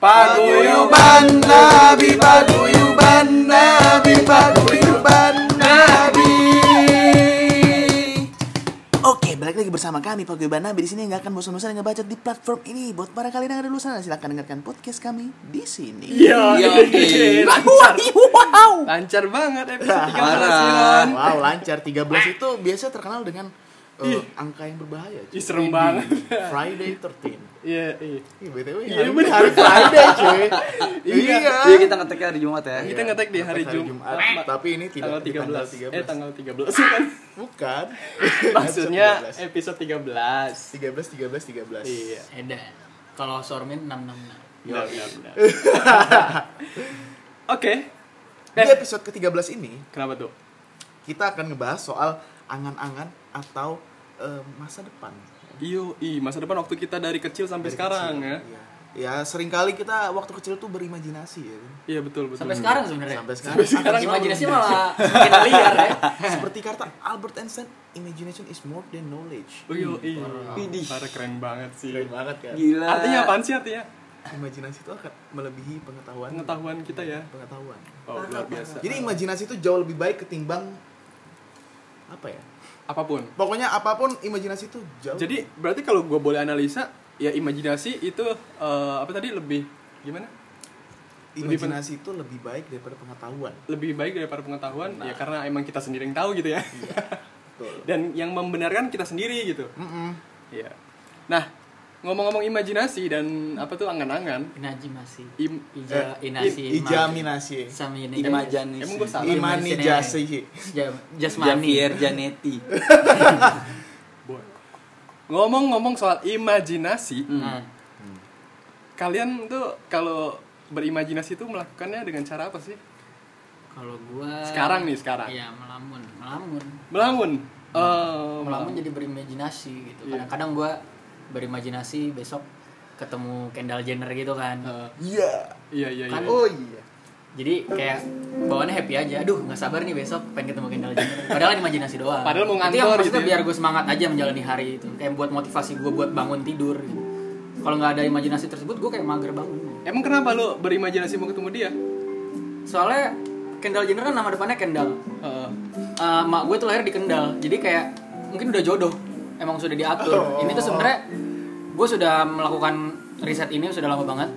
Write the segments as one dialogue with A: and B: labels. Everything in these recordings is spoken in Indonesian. A: Paguyuban Nabi, paguyuban Nabi, paguyuban Nabi.
B: Oke, balik lagi bersama kami Paguyuban Nabi di sini nggak akan bosan-bosan yang ngebacot di platform ini. Buat para kalian yang ada di luar sana silahkan dengarkan podcast kami di sini.
A: Iya, oke.
B: Wah, wow.
C: Ya, Lancar banget episode
B: Nah,
C: 13
A: parah.
C: Silan.
B: Wow, lancar 13 itu biasa terkenal dengan eh, angka yang berbahaya.
C: Iya. Ih,
B: cuy.
C: serem banget.
B: Friday 13.
C: Iya, iya.
B: Ih, BTW
C: Iya,
B: hari,
C: bener.
B: hari Friday, cuy. iya.
A: Iya, kita ngeteknya hari Jumat ya.
C: Kita ngetek di hari
B: Jumat,
C: Jumat.
B: tapi ini
C: Tanggal
B: tidak di
C: 13.
B: tanggal
C: Eh
B: 13.
C: tanggal 13 kan.
B: Bukan.
C: Maksudnya
B: Episode
C: episode 13.
B: 13 13 13.
C: Iya.
D: Eda. Kalau Sormin 666.
C: Benar, benar, benar. Oke.
B: Di
C: Eh,
B: episode ke-13 ini
C: kenapa tuh?
B: kita akan ngebahas soal angan-angan atau eh, masa depan.
C: Iyo, i masa depan waktu kita dari kecil sampai
B: Dari
C: sekarang
B: kecil,
C: ya.
B: Iya. Ya, seringkali kita waktu kecil tuh berimajinasi ya. kan?
C: Iya betul betul.
D: Sampai sekarang sebenarnya.
B: Sampai sekarang.
D: ya? Sekarang
B: Sampai
D: imajinasi malah semakin liar ya.
B: Seperti kata Albert Einstein, imagination is more than knowledge.
C: Oh, Iyo, i.
A: Widih.
C: Parah keren banget sih.
B: Keren banget kan?
A: Gila.
C: Artinya apaan sih artinya?
B: Imajinasi itu akan melebihi pengetahuan.
C: Pengetahuan kita ya.
B: Pengetahuan.
C: Oh, luar biasa.
B: Jadi imajinasi itu jauh lebih baik ketimbang apa ya?
C: apapun.
B: Pokoknya apapun imajinasi itu jauh.
C: Jadi berarti kalau gue boleh analisa ya imajinasi itu eh, apa tadi lebih gimana? lebih pen-
B: imajinasi itu lebih baik daripada pengetahuan.
C: Lebih baik daripada pengetahuan
B: Nah.
C: ya karena emang kita sendiri yang tahu gitu ya.
B: Iya. Betul.
C: Dan yang membenarkan kita sendiri gitu.
B: Mm-mm.
C: Iya. Nah, ngomong-ngomong imajinasi dan apa tuh angan-angan.
D: Inaji masih.
C: im-
D: Ija
B: Eh,
D: inasi.
B: i- Ijaminasi.
D: Sama ini.
A: Imajani.
C: Emang gua salah?
B: Imani jasi.
D: Jam- Jasmani.
A: Javier Janetti.
C: Boy. Ngomong-ngomong soal imajinasi,
D: Nah,
C: kalian tuh kalau berimajinasi itu melakukannya dengan cara apa sih?
D: kalau gua
C: Sekarang nih, sekarang.
D: Iya, melamun, melamun.
C: Melamun. Eh,
D: Melamun jadi berimajinasi gitu.
C: Iya.
D: Kadang-kadang gua berimajinasi besok ketemu Kendall Jenner gitu kan.
C: Eh,
B: Iya.
C: iya iya iya.
D: Kan-
B: Oh iya.
D: Jadi kayak bawaannya happy aja. Aduh, nggak sabar nih besok pengen ketemu Kendall Jenner. Padahal ini imajinasi doang.
C: Padahal mau
D: Itu yang
C: ngantor
D: maksudnya
C: gitu ya.
D: biar gue semangat aja menjalani hari itu. Kayak buat motivasi gue buat bangun tidur. gitu. Kalau nggak ada imajinasi tersebut, gue kayak mager bangun.
C: Emang kenapa lo berimajinasi mau ketemu dia?
D: Soalnya Kendall Jenner kan nama depannya Kendall.
C: Heeh.
D: Eh, mak gue tuh lahir di Kendal jadi kayak mungkin udah jodoh emang sudah diatur
C: Oh.
D: ini tuh sebenarnya gue sudah melakukan riset ini sudah lama banget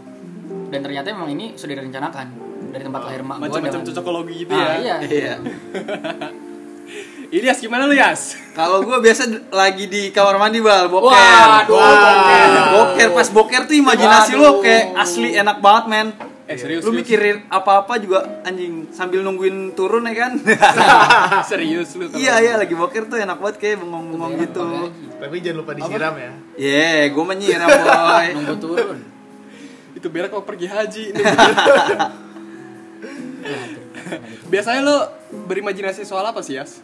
D: dan ternyata emang ini sudah direncanakan dari tempat lahir mak gue
C: macam-macam cocokologi gitu ya.
D: Ah, iya.
A: Iya.
C: Ilyas gimana lu, Yas?
A: Kalau gue biasa d- lagi di kamar mandi bal, boker.
D: Wah, aduh,
A: Wah.
D: boker.
A: Boker pas boker tuh imajinasi lo
D: Waduh.
A: kayak asli enak banget men.
D: Iya.
C: Eh, serius,
A: Lu
C: serius.
A: mikirin apa-apa juga anjing sambil nungguin turun ya kan?
C: Serius lu? kalau-
A: iya iya lagi boker tuh enak banget kayak bengong-bengong gitu.
B: Tapi jangan lupa disiram ya.
A: Ye, gue menyiram boy.
D: nunggu turun iya.
C: Itu berak mau pergi haji. Biasanya lu berimajinasi soal apa sih, Yas?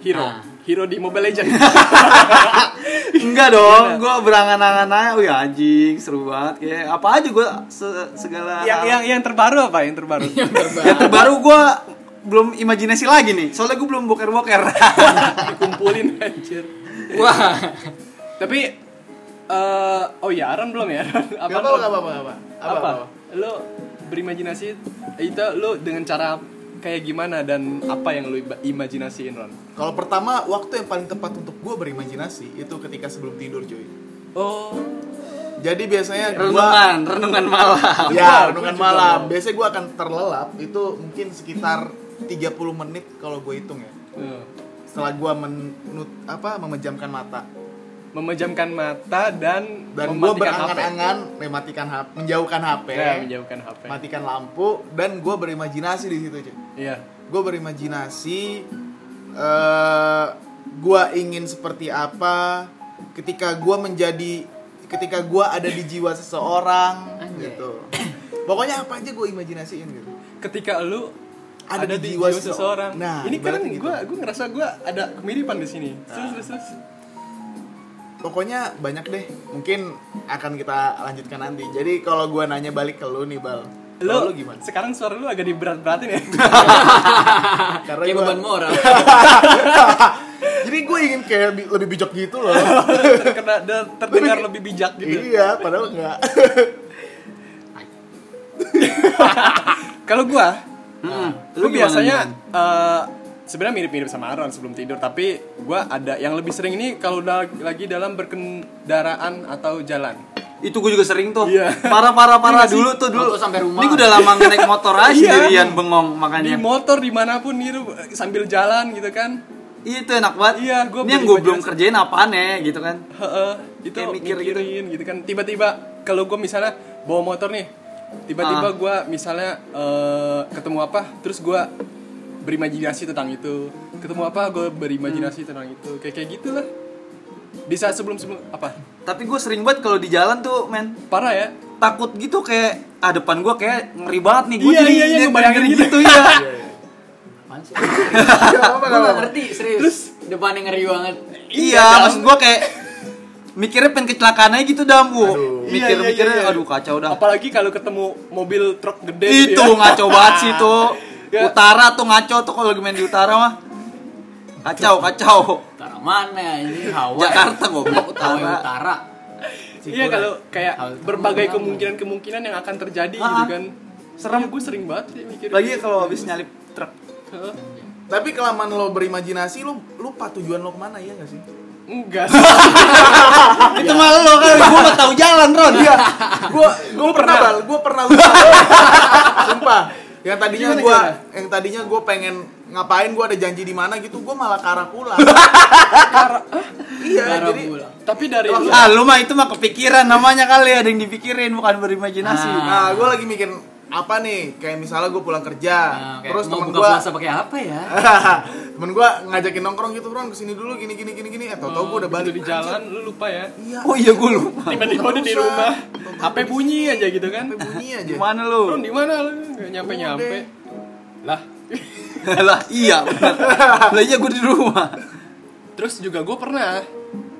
C: Hero.
D: Ah.
C: Hero di Mobile Legends.
A: Enggak dong, gue berangan-angan aja. Wih anjing seru banget kayak apa aja gue segala.
C: yang yang yang terbaru apa? Yang terbaru.
A: yang terbaru gue belum imajinasi lagi nih. Soalnya gue belum boker-boker.
C: Dikumpulin anjir.
D: wah
C: Tapi eh oh iya, Aran belum ya? Aran?
B: Apa
C: Apaan
B: apa
C: lu?
B: apa apa apa.
C: apa,
B: Apa?
C: lo berimajinasi itu lo dengan cara kayak gimana dan apa yang lo iba- imajinasiin Ron?
B: Kalau pertama waktu yang paling tepat untuk gue berimajinasi itu ketika sebelum tidur cuy.
C: Oh,
B: Jadi biasanya gue
A: renungan renungan malam
C: Gua- gua
B: ya renungan
C: juga
B: malam.
C: mau.
B: Biasanya gue akan terlelap itu mungkin sekitar 30 menit kalau gue hitung ya.
C: eh,
B: Setelah gue menut apa memejamkan mata
C: memejamkan mata dan,
B: dan gue
C: mematikan HP.
B: berangan-angan mematikan HP, menjauhkan HP,
C: Ya, menjauhkan HP.
B: matikan lampu dan gue berimajinasi di situ cuy.
C: Iya.
B: gue berimajinasi eh gue ingin seperti apa ketika gue menjadi ketika gue ada di jiwa seseorang
D: Anjay.
B: gitu pokoknya apa aja gue imajinasiin gitu
C: Ketika lo ada,
B: Ada
C: di
B: di
C: jiwa
B: jiwa
C: seseorang.
B: seseorang. Nah,
C: ini kan
B: ibaratnya gitu.
C: gue gue ngerasa gue ada kemiripan di sini. Terus terus terus.
B: pokoknya banyak deh mungkin akan kita lanjutkan nanti jadi kalau gue nanya balik ke lu nih bal
C: Lo
B: kalau lu gimana
C: sekarang suara lo agak diberat-beratin ya.
B: karena
D: Ah, kayak
B: gua-
D: beban moral
B: jadi gue ingin kayak bi- lebih bijak gitu loh
A: Iya.
C: Terkena- terdengar lebih bijak gitu.
B: iya padahal enggak
C: Kalau gua,
A: Mm-mm.
C: Nah, lu
A: gimana,
C: biasanya
A: Jon?
C: eh, sebenarnya mirip-mirip sama Aaron sebelum tidur, tapi gua ada yang lebih sering ini kalau udah lagi dalam berkendaraan atau jalan.
A: itu gue juga sering tuh
C: Iya.
A: parah parah
C: Iya
A: parah
C: sih.
A: dulu tuh dulu
D: Aku sampai rumah.
A: ini gue udah lama naik motor
C: Iya.
A: aja Ah, sendirian bengong
C: Di
A: makanya
C: motor dimanapun gitu eh, sambil jalan gitu kan.
A: itu enak banget
C: Iya, gua
A: ini yang
C: beli
A: gue
C: baju
A: belum
C: asli.
A: kerjain apaan ya gitu kan
C: Heeh, itu
A: Kayak mikir
C: mikir mikirin gitu. kan. Tiba-tiba kalau gua misalnya bawa motor nih,
A: Ah.
C: tiba-tiba gua misalnya eh, ketemu apa, terus gua berimajinasi tentang itu. Ketemu apa, gua
A: Hmm.
C: berimajinasi tentang itu. Kayak kayak gitulah. Di saat sebelum sebelum apa?
A: tapi gue sering banget kalau di jalan tuh men
C: Parah ya?
A: takut gitu kayak ah depan gue kayak ngeri banget nih gue
C: Iya, iya, iya, ngebayangin gitu.
A: ya
D: Apaan sih? Gue gak ngerti, serius. Terus depannya ngeri banget.
A: iya maksud gue kayak mikirnya pengen kecelakaan aja gitu dam gue mikir-mikirnya
C: Iya, iya, iya.
A: aduh kacau dah
C: Apalagi kalau ketemu mobil truk gede gitu
A: itu
C: ya.
A: ngaco banget sih tuh
C: Ya.
A: utara tuh ngaco tuh kalau lagi main di utara mah kacau kacau
D: Utara mana ini? Hawaii.
A: Jakarta, goblok, utara.
D: Hawaii utara.
C: Iya kalau kayak
D: Hal-
C: berbagai kemungkinan-kemungkinan yang akan terjadi gitu
A: Ah,
C: kan. Serem gue sering banget sih mikir. gitu.
A: lagi kalau habis nyalip truk
C: Heeh.
B: Tapi kelamaan lo berimajinasi lo lupa tujuan lo kemana ya nggak sih?
C: Enggak.
A: itu mah lo kan gue nggak tahu jalan Ron
B: Iya, gua gua pernah bal, gua pernah lupa. Sumpah. Yang tadinya
C: Gimana,
B: gua
C: gimana?
B: yang tadinya gua pengen ngapain gua ada janji di mana gitu, gua malah ke arah pulang. iya,
D: Utara
B: jadi
D: pulang.
C: Tapi dari lu
A: ah lu mah itu mah kepikiran namanya kali ada yang dipikirin bukan berimajinasi
D: Ah.
B: nah gua lagi mikir apa nih? Kayak misalnya gua pulang kerja,
D: Nah, kayak
B: terus
D: mau
B: temen
D: buka
B: gua
D: puasa pakai apa ya?
B: temen gua ngajakin nongkrong gitu, Ron, kesini dulu gini gini gini gini. Eh, tau-tau gua udah balik.
C: Oh, gitu di jalan lu lupa ya.
B: Iya.
A: oh iya gue lupa
C: Tiba-tiba udah di
B: usah.
C: rumah. HP bunyi aja gitu kan.
B: sampai bunyi aja.
A: gimana lu
C: Lu di mana lu? Enggak nyampe-nyampe. Lah,
B: Udah.
A: lah iya bener. lah iya gue di rumah
C: terus juga gue pernah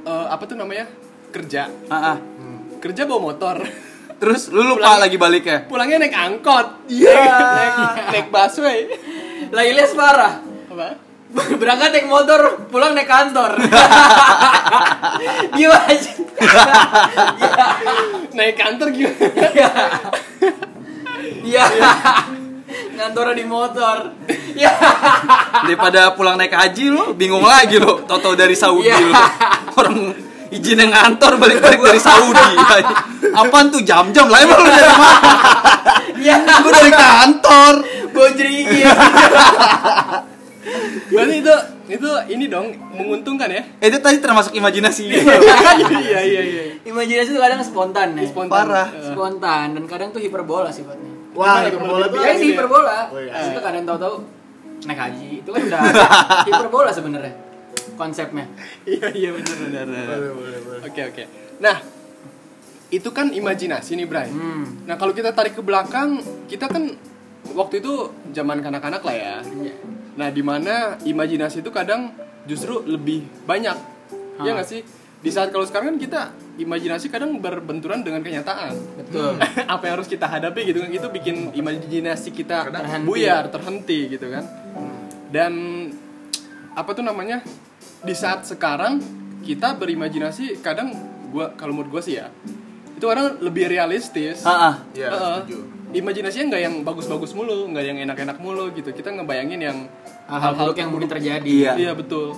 C: eh, apa tuh namanya? kerja.
A: Ah, ah.
C: Kerja bawa motor.
A: terus lu lupa
C: Pulang.
A: lagi baliknya
C: Pulangnya naik angkot. Iya. naik, naik busway.
D: Lah Ilyas parah.
C: Apa?
D: Berangkat naik motor, pulang naik kantor. Dia aja.
C: Naik kantor gimana?
D: Iya. Ngantor di motor. Ya.
A: daripada pulang naik haji lu bingung lagi lu toto dari Saudi
D: Iya.
A: lu orang izin yang kantor balik-balik dari Saudi apaan tuh jam-jam lah emang lu dari mana
D: Ya.
A: gue dari kantor
D: Bonjrigi.
C: Berarti itu itu ini dong menguntungkan ya.
A: Eh, itu tadi termasuk imajinasi
C: Iya iya iya.
D: Imajinasi tuh kadang spontan ya.
C: Spontan.
A: Parah.
C: Eh,
D: Spontan dan kadang tuh hiperbola sifatnya.
B: Wah,
C: Gimana,
B: hiperbola
C: gimana?
B: tuh
D: Ya
C: Iya,
D: sih
C: iya.
D: hiperbola.
B: Oh, iya.
D: Terus itu kadang tahu-tahu naik haji itu kan udah hiperbola sebenarnya konsepnya.
C: Iya iya benar benar.
B: Boleh, boleh, boleh.
C: Oke oke. Nah, itu kan imajinasi nih, Bray.
D: Hmm.
C: Nah, kalau kita tarik ke belakang, kita kan waktu itu zaman kanak-kanak lah ya.
D: Iya.
C: Nah, di mana imajinasi itu kadang justru lebih banyak. Iya
D: Ah.
C: nggak sih? Di saat kalau sekarang kan kita imajinasi kadang berbenturan dengan kenyataan.
D: Betul.
C: Apa yang harus kita hadapi gitu kan itu bikin imajinasi kita
D: Terhenti.
C: buyar, terhenti gitu kan. Dan apa tuh namanya? Di saat sekarang kita berimajinasi kadang gua kalau menurut gua sih ya itu kadang lebih realistis.
A: Ah, ah.
B: Iya,
C: Heeh.
B: setuju.
C: Imajinasinya nggak yang bagus-bagus mulu, nggak yang enak-enak mulu gitu. Kita ngebayangin yang
D: Hal-hal buruk yang mungkin terjadi.
A: Iya.
C: Iya betul.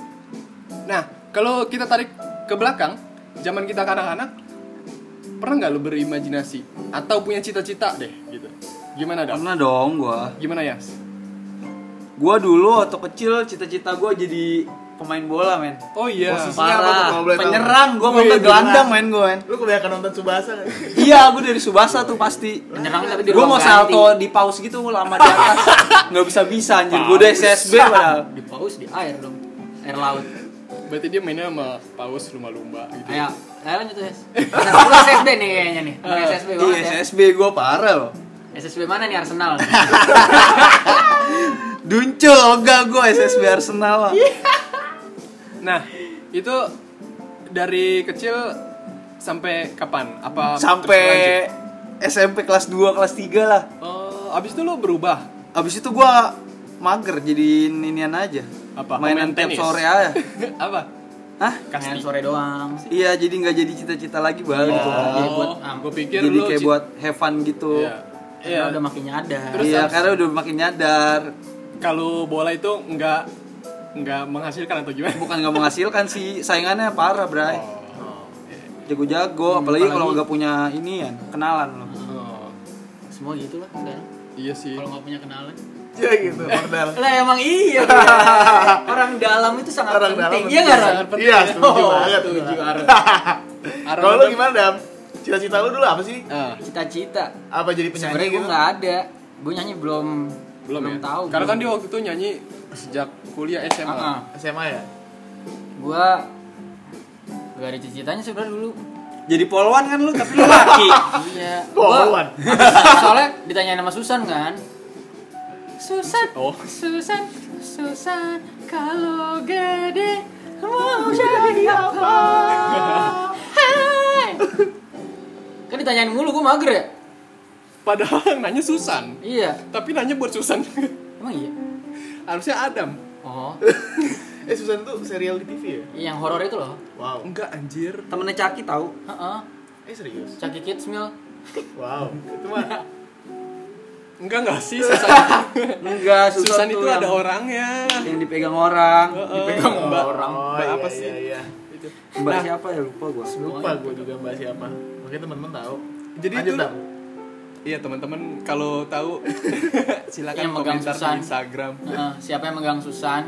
C: Nah, kalau kita tarik ke belakang, zaman kita kanak-kanak, pernah nggak lu berimajinasi atau punya cita-cita deh gitu? Gimana dong?
A: pernah dong gua
C: Gimana Yas?
A: gua dulu waktu kecil cita-cita gua jadi pemain bola men
C: Oh iya.
B: Posisi- Isinya apa tuh,
A: parah
B: kalau boleh tahu? Oh, iya,
A: penyerang gua mau
B: Wih,
A: ke gelandang
B: gelandang.
A: main gua men
B: Lu kebanyakan nonton Subasa kan?
A: iya gua dari Subasa tuh pasti
D: Menyerang tapi di
A: Gue mau
D: ruang ganti.
A: salto di pause gitu lama di atas nggak bisa bisa anjir gue udah SSB padahal
D: Di paus di air dong. Air laut.
C: Berarti dia mainnya sama paus lumba-lumba gitu.
D: Ayo, ayo lanjut Yas. Nah, lu SSB nih kayaknya nih. Lu SSB
A: Iya
D: banget ya.
A: SSB gue parah loh
D: SSB mana nih Arsenal?
A: Duncul enggak gue SSB Arsenal lah
C: Iya. Nah, itu dari kecil sampai kapan? Apa terus berlanjut?
A: Sampai SMP kelas 2 kelas 3 lah
C: Oh, abis itu lu berubah
A: Abis itu gue mager jadi ninian aja
C: Apa?
A: Mainan
C: Pemain
A: tiap
C: tenis?
A: sore aja
C: apa?
A: Hah?
C: Kasti.
D: Kangen Kan sore doang.
A: Iya jadi nggak jadi cita-cita lagi balik
D: Jadi
C: Oh,
D: buat-
C: gue pikir
A: Iya, Jadi
C: lu
A: kayak
C: cita-
A: buat have fun gitu
C: Iya.
D: Karena
C: Iya.
D: udah makinnya ada.
A: iya karena udah makin nyadar
C: Kalau bola itu nggak nggak menghasilkan atau gimana?
A: bukan nggak menghasilkan sih saingannya parah bray jago-jago Hmm, apalagi kalau
D: apalagi-
A: nggak punya ini ya kenalan lo
C: Oh,
D: Semua gitu lah sekarang.
C: iya sih.
D: Kalau nggak punya kenalan.
B: ya gitu modal
D: Lah emang iya. Bro. Orang dalam itu sangat
B: Orang dalam
D: penting.
B: itu
D: Iya nggak Ran?
C: sangat penting.
B: iya setuju
D: Oh,
B: banget Iya.
D: setuju, Aron.
C: Aron
B: kalau lu
C: Aron-
B: gimana dam cita-cita lu dulu apa sih
C: Ah,
D: Cita-cita.
B: apa jadi penyanyi
D: Eh, Sebenarnya gue
B: gitu
D: nggak ada. Gue nyanyi belum
C: belum, ya?
D: tahu.
C: Karena kan dia waktu itu nyanyi sejak kuliah SMA.
D: Ah, ah.
B: SMA ya
D: Gue gak ada cita-citanya sebenarnya dulu.
A: jadi polwan kan lu tapi lu laki
C: Ah,
D: Iya.
B: Bohongan.
D: Gua- Soalnya ditanyain sama Susan kan. Susan,
C: Oh.
D: Susan, Susan, kalau gede mau jadi apa? Hai. Kan ditanyain mulu gue mager ya?
C: Padahal yang nanya Susan.
D: Iya.
C: Tapi nanya buat Susan.
D: Emang iya?
C: Harusnya Adam.
D: Oh,
B: eh Susan tuh serial di TV ya
D: Iya, yang horor itu loh.
B: wow
C: Enggak anjir.
A: temennya caki tahu
D: Heeh.
B: eh serius
D: Caki Kids Meal.
B: wow itu mah
C: Enggak enggak sih Susan.
A: enggak susah
C: Susan itu ada orangnya.
A: yang dipegang orang
C: Dipegang Mbak.
D: orang.
B: oh
C: Mbak
B: iya,
C: apa
B: apa
C: sih?
B: sih iya, iya.
C: Itu.
A: mbak
C: Nah.
A: siapa ya lupa gua
B: lupa gue juga mbak
D: gitu.
B: siapa mungkin teman-teman tahu
C: Jadi
B: Lanjut,
C: itu-
B: Dam.
C: Iya teman-teman kalau tahu silakan
D: Yang megang
C: komentar
D: Susan.
C: di Instagram.
D: Heeh, siapa yang megang Susan?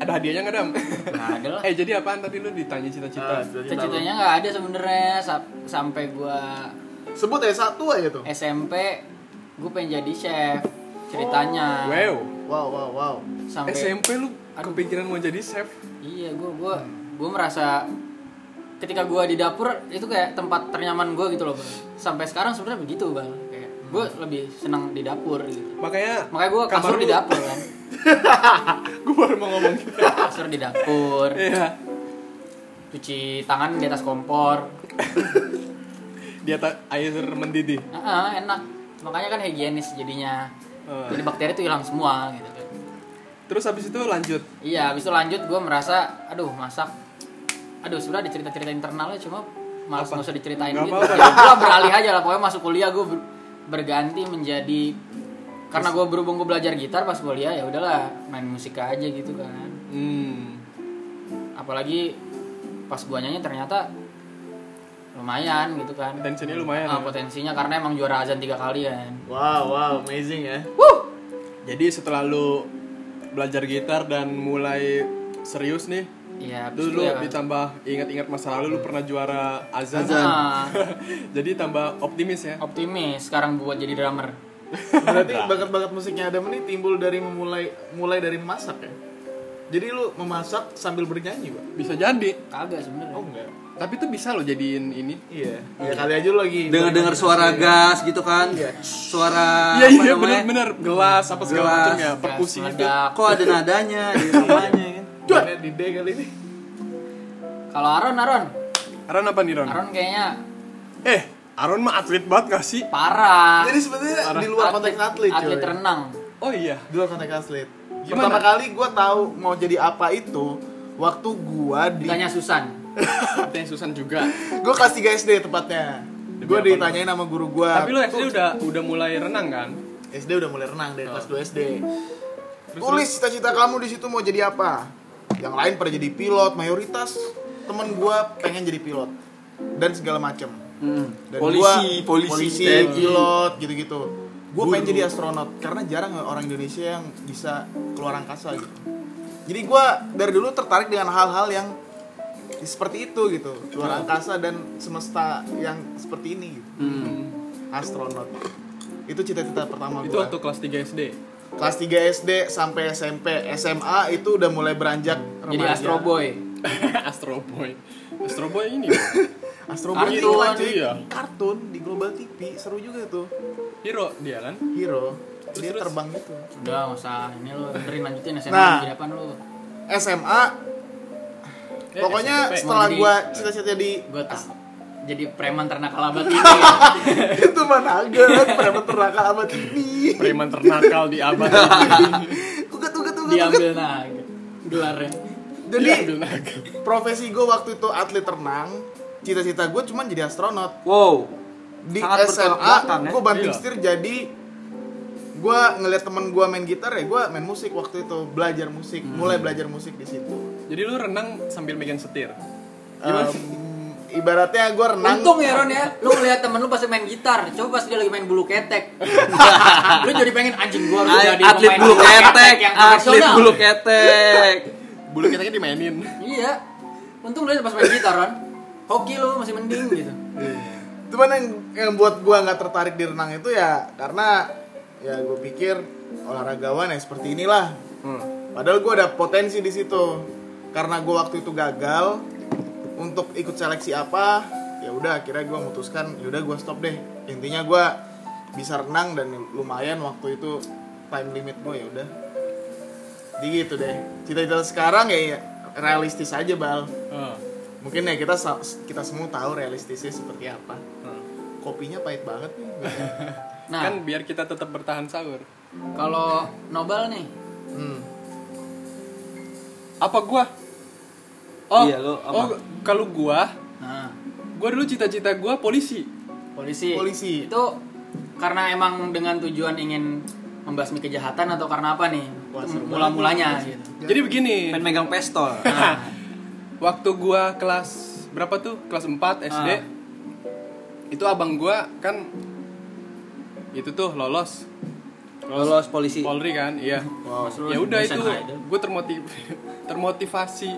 C: Ada hadiahnya nggak Dam?
D: Nah, ada lah.
C: eh jadi apaan tadi lu ditanya
B: Ah,
C: cita-cita?
B: cita-cita lu.
D: Cita-citanya nggak ada sebenarnya sa- sampai gua
B: sebut ya satu aja tuh
D: SMP gue pengen jadi chef ceritanya
C: wow.
B: wow wow wow
D: sampai
C: SMP lu
D: Aduh.
C: kepikiran mau jadi chef?
D: iya gue gue gue merasa ketika gue di dapur itu kayak tempat ternyaman gue gitu loh bang sampai sekarang sebenarnya begitu bang kayak gue lebih senang di dapur gitu
C: Makanya
D: makanya gue
C: kamar
D: kasur
C: lu-
D: di dapur kan
C: gue baru mau ngomong gitu.
D: kasur di dapur
C: Iya.
D: cuci tangan di atas kompor
C: Di atas air mendidih.
D: Ah, ah, enak makanya kan higienis jadinya
C: Eh.
D: jadi bakteri tuh hilang semua gitu kan
C: Terus habis itu lanjut.
D: Iya, habis itu lanjut gue merasa, aduh masak, aduh sebenarnya ada cerita-cerita internalnya cuma malas
C: Apa?
D: nggak usah diceritain
C: Nggak
D: gitu.
C: apa-apa.
D: gue beralih aja lah, pokoknya masuk kuliah gue berganti menjadi karena gue berhubung gue belajar gitar pas kuliah ya udahlah main musik aja gitu kan.
C: Hmm.
D: Apalagi pas gue nyanyi ternyata lumayan gitu kan.
C: Tensinya lumayan. ya.
D: Ah, potensinya karena emang juara azan tiga kali kan.
B: wow wow amazing ya
C: Jadi setelah lu belajar gitar dan mulai serius nih,
D: Iya, habis itu
C: dulu
D: ya.
C: ditambah ingat-ingat masa lalu lu pernah juara azan.
D: Ah,
C: Jadi tambah optimis ya.
D: optimis sekarang buat jadi drummer.
B: berarti bakat-bakat musiknya Adam ini timbul dari memulai mulai dari memasak ya jadi lu memasak sambil bernyanyi pak
C: Bisa jadi.
D: Kagak sebenarnya.
B: oh enggak
C: Tapi tuh bisa lo jadiin ini.
B: iya ya kali aja lu lagi
A: dengar-dengar suara gas gitu kan
B: Iya.
A: suara
C: Iya
A: apa
C: iya
A: namanya?
C: bener-bener gelas apa segala
A: Gelas,
C: macam ya perkusi
D: Gas
C: gitu.
D: meledak.
A: kok ada nadanya di rumahnya kan
B: Mainnya di D kali ini
D: Kalau Aron, Aron,
C: Aron apa nih Ron?
D: Aron kayaknya
C: Eh, Aron mah atlet banget gak sih?
D: parah.
B: jadi sebenarnya di luar konteks atlet cuy
D: Ah. Atlet renang.
C: Oh iya.
B: di luar konteks atlet
C: Gimana?
B: pertama kali gue tahu mau jadi apa itu waktu gue di
D: Ditanya Susan.
C: Katanya Susan juga.
B: gue kelas 3 SD tepatnya gue
C: apa
B: ditanyain sama guru gue
C: Tapi lo SD udah udah mulai renang kan?
B: SD udah mulai renang dari kelas 2 SD. Tulis cita-cita kamu di situ mau jadi apa? Yang lain pada jadi pilot mayoritas. Temen gua pengen jadi pilot dan segala macem.
A: Hmm.
B: Dan
A: polisi,
B: gua,
A: polisi, TNI.
B: pilot gitu-gitu. Gue pengen jadi astronot karena jarang orang Indonesia yang bisa keluar angkasa gitu. Jadi gua dari dulu tertarik dengan hal-hal yang seperti itu gitu, luar angkasa dan semesta yang seperti ini gitu.
C: Hmm.
B: Astronot. Itu cita-cita pertama
C: Itu
B: gua
C: waktu kelas 3 SD.
B: kelas 3 SD sampai SMP SMA itu udah mulai beranjak
D: Jadi
B: remaja
D: Astro Boy.
C: Astro Boy. Astro Boy ini. Bang.
B: Astro Boy
D: Kartun,
B: iklan, cuy.
C: iya.
B: kartun di Global TV seru juga tuh
C: Hero dia kan?
B: hero dia
C: terus.
B: terbang gitu
D: Udah, nggak usah. Ini lo dengerin lanjutin SMA
B: Nah.
D: di depan lo.
B: SMA
C: Eh,
B: pokoknya
C: SMP.
B: setelah
D: Mau
B: gua cita-cita di
D: Gue tahu. Jadi preman ternak gitu alabat ini.
B: itu mana agak preman teraka abad ini
C: Preman ternakal di abad.
B: ugat ugat ugat ugat
D: Diambil nah gitu. gelarnya.
B: jadi
C: Ambil nakal.
B: profesi gua waktu itu atlet renang cita-cita gua cuman jadi astronot
A: wow
B: di
A: Sangat bertolak
B: SMA
A: belakang, ya?
B: gue banting
C: Iya.
B: setir jadi gue ngeliat temen gue main gitar ya gue main musik waktu itu belajar musik
C: Hmm.
B: mulai belajar musik di situ
C: Jadi lu renang sambil megang setir. Gimana?
B: Em, ibaratnya gue renang
D: Untung ya Ron ya, lu ngeliat temen lu pasti main gitar, coba pas dia lagi main bulu ketek Lu jadi pengen anjing gua harus jadi
A: atlet
D: pemain
A: bulu ketek,
D: yang
A: atlet
D: profesional.
A: bulu ketek.
C: Bulu kita dimainin.
D: Iya, untung lu pas main gitar Ron Hoki lu masih mending gitu
B: cuman yang yang buat gue nggak tertarik di renang itu ya karena ya gue pikir olahragawan ya seperti inilah padahal gue ada potensi di situ karena gue waktu itu gagal untuk ikut seleksi apa ya udah akhirnya gue memutuskan ya udah gue stop deh intinya gue bisa renang dan lumayan waktu itu time limit gue ya udah jadi gitu deh cita-cita sekarang ya, ya realistis aja bal
C: Heeh.
B: mungkin ya kita sa- kita semua tahu realistisnya seperti apa
C: Hmm.
B: kopinya pahit banget nih
D: Nah,
C: Kan biar kita tetap bertahan sahur.
D: kalau Nobel nih,
B: hmm.
C: Apa gua? Oh,
A: Iya, lu apa?
C: oh kalau gua,
D: nah,
C: gua dulu cita-cita gua polisi.
D: polisi
B: Polisi.
D: Itu karena emang dengan tujuan ingin membasmi kejahatan atau karena apa nih?
B: Wah, seru Iya,
D: Mula-mulanya gitu
C: Jadi begini,
A: Pengen megang pistol.
D: Nah,
C: waktu gua kelas berapa tuh? Kelas 4 SD.
A: Ah.
C: Itu abang gua kan itu tuh lolos.
A: Lolos polisi.
C: Polri kan, iya.
B: wow.
D: Mas Ron,
C: ya udah
D: Indonesian
C: itu
D: Idol.
C: gue termotiv termotivasi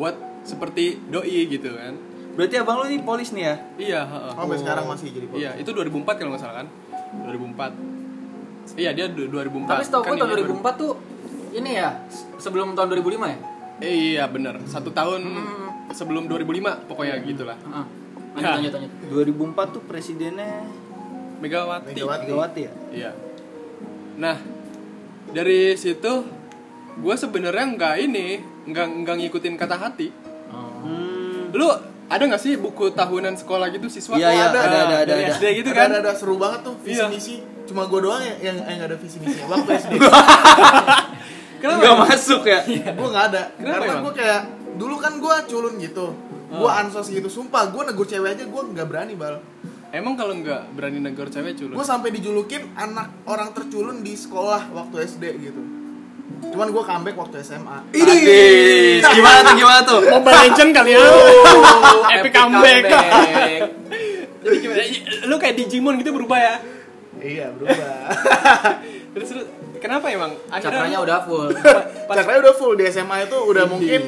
C: buat seperti doi gitu kan
A: Berarti abang lu ini polis nih ya?
C: iya heeh.
D: Oh.
B: sampai sekarang masih jadi polisi
C: iya itu 2004 kalau nggak salah kan 2004 iya dia du- 2004
D: Tapi setahu
C: Kan
D: gua tahun
C: ini
D: 2004 tuh ini ya, se- sebelum tahun 2005 ya?
C: baru- eh, iya bener satu tahun
D: Hmm.
C: sebelum 2005 pokoknya
D: Iya.
C: gitulah
D: Heeh.
C: Ya.
D: Lanjut, lanjut, lanjut.
A: 2004 tuh presidennya
C: Megawati,
B: Megawati.
A: Megawati ya?
C: iya nah dari situ gue sebenarnya nggak ini nggak nggak ngikutin kata hati
A: Hmm.
C: lu ada nggak sih buku tahunan sekolah gitu siswa
A: Iya,
C: Tuh
A: iya, ada, ada, ada,
C: dari
A: ada.
C: SD gitu
B: Ada-
C: kan
B: ada, ada seru banget tuh visi
C: Iya.
B: misi cuma gue doang ya yang yang nggak ada visi misinya waktu SD
C: Kenapa?
A: Nggak masuk ya?
B: gue nggak ada
C: Kenapa
B: karena
C: emang? Hmm.
B: gue kayak dulu kan gue culun gitu gue ansos gitu sumpah gue negur cewek aja gue nggak berani bal
C: Emang kalau nggak berani negor cewek culun?
B: gue sampai dijulukin anak orang terculun di sekolah waktu SD gitu cuman gue comeback waktu SMA
C: Iya,
A: Adis. Gimana tuh? Gimana tuh?
C: Mobile Legend kali ya.
D: Epic comeback.
C: Jadi gimana? Lu kayak Digimon gitu berubah ya.
B: iya berubah
C: Terus terus kenapa emang?
D: Cakranya udah full.
C: Pas,
B: Caranya udah full di SMA itu udah mungkin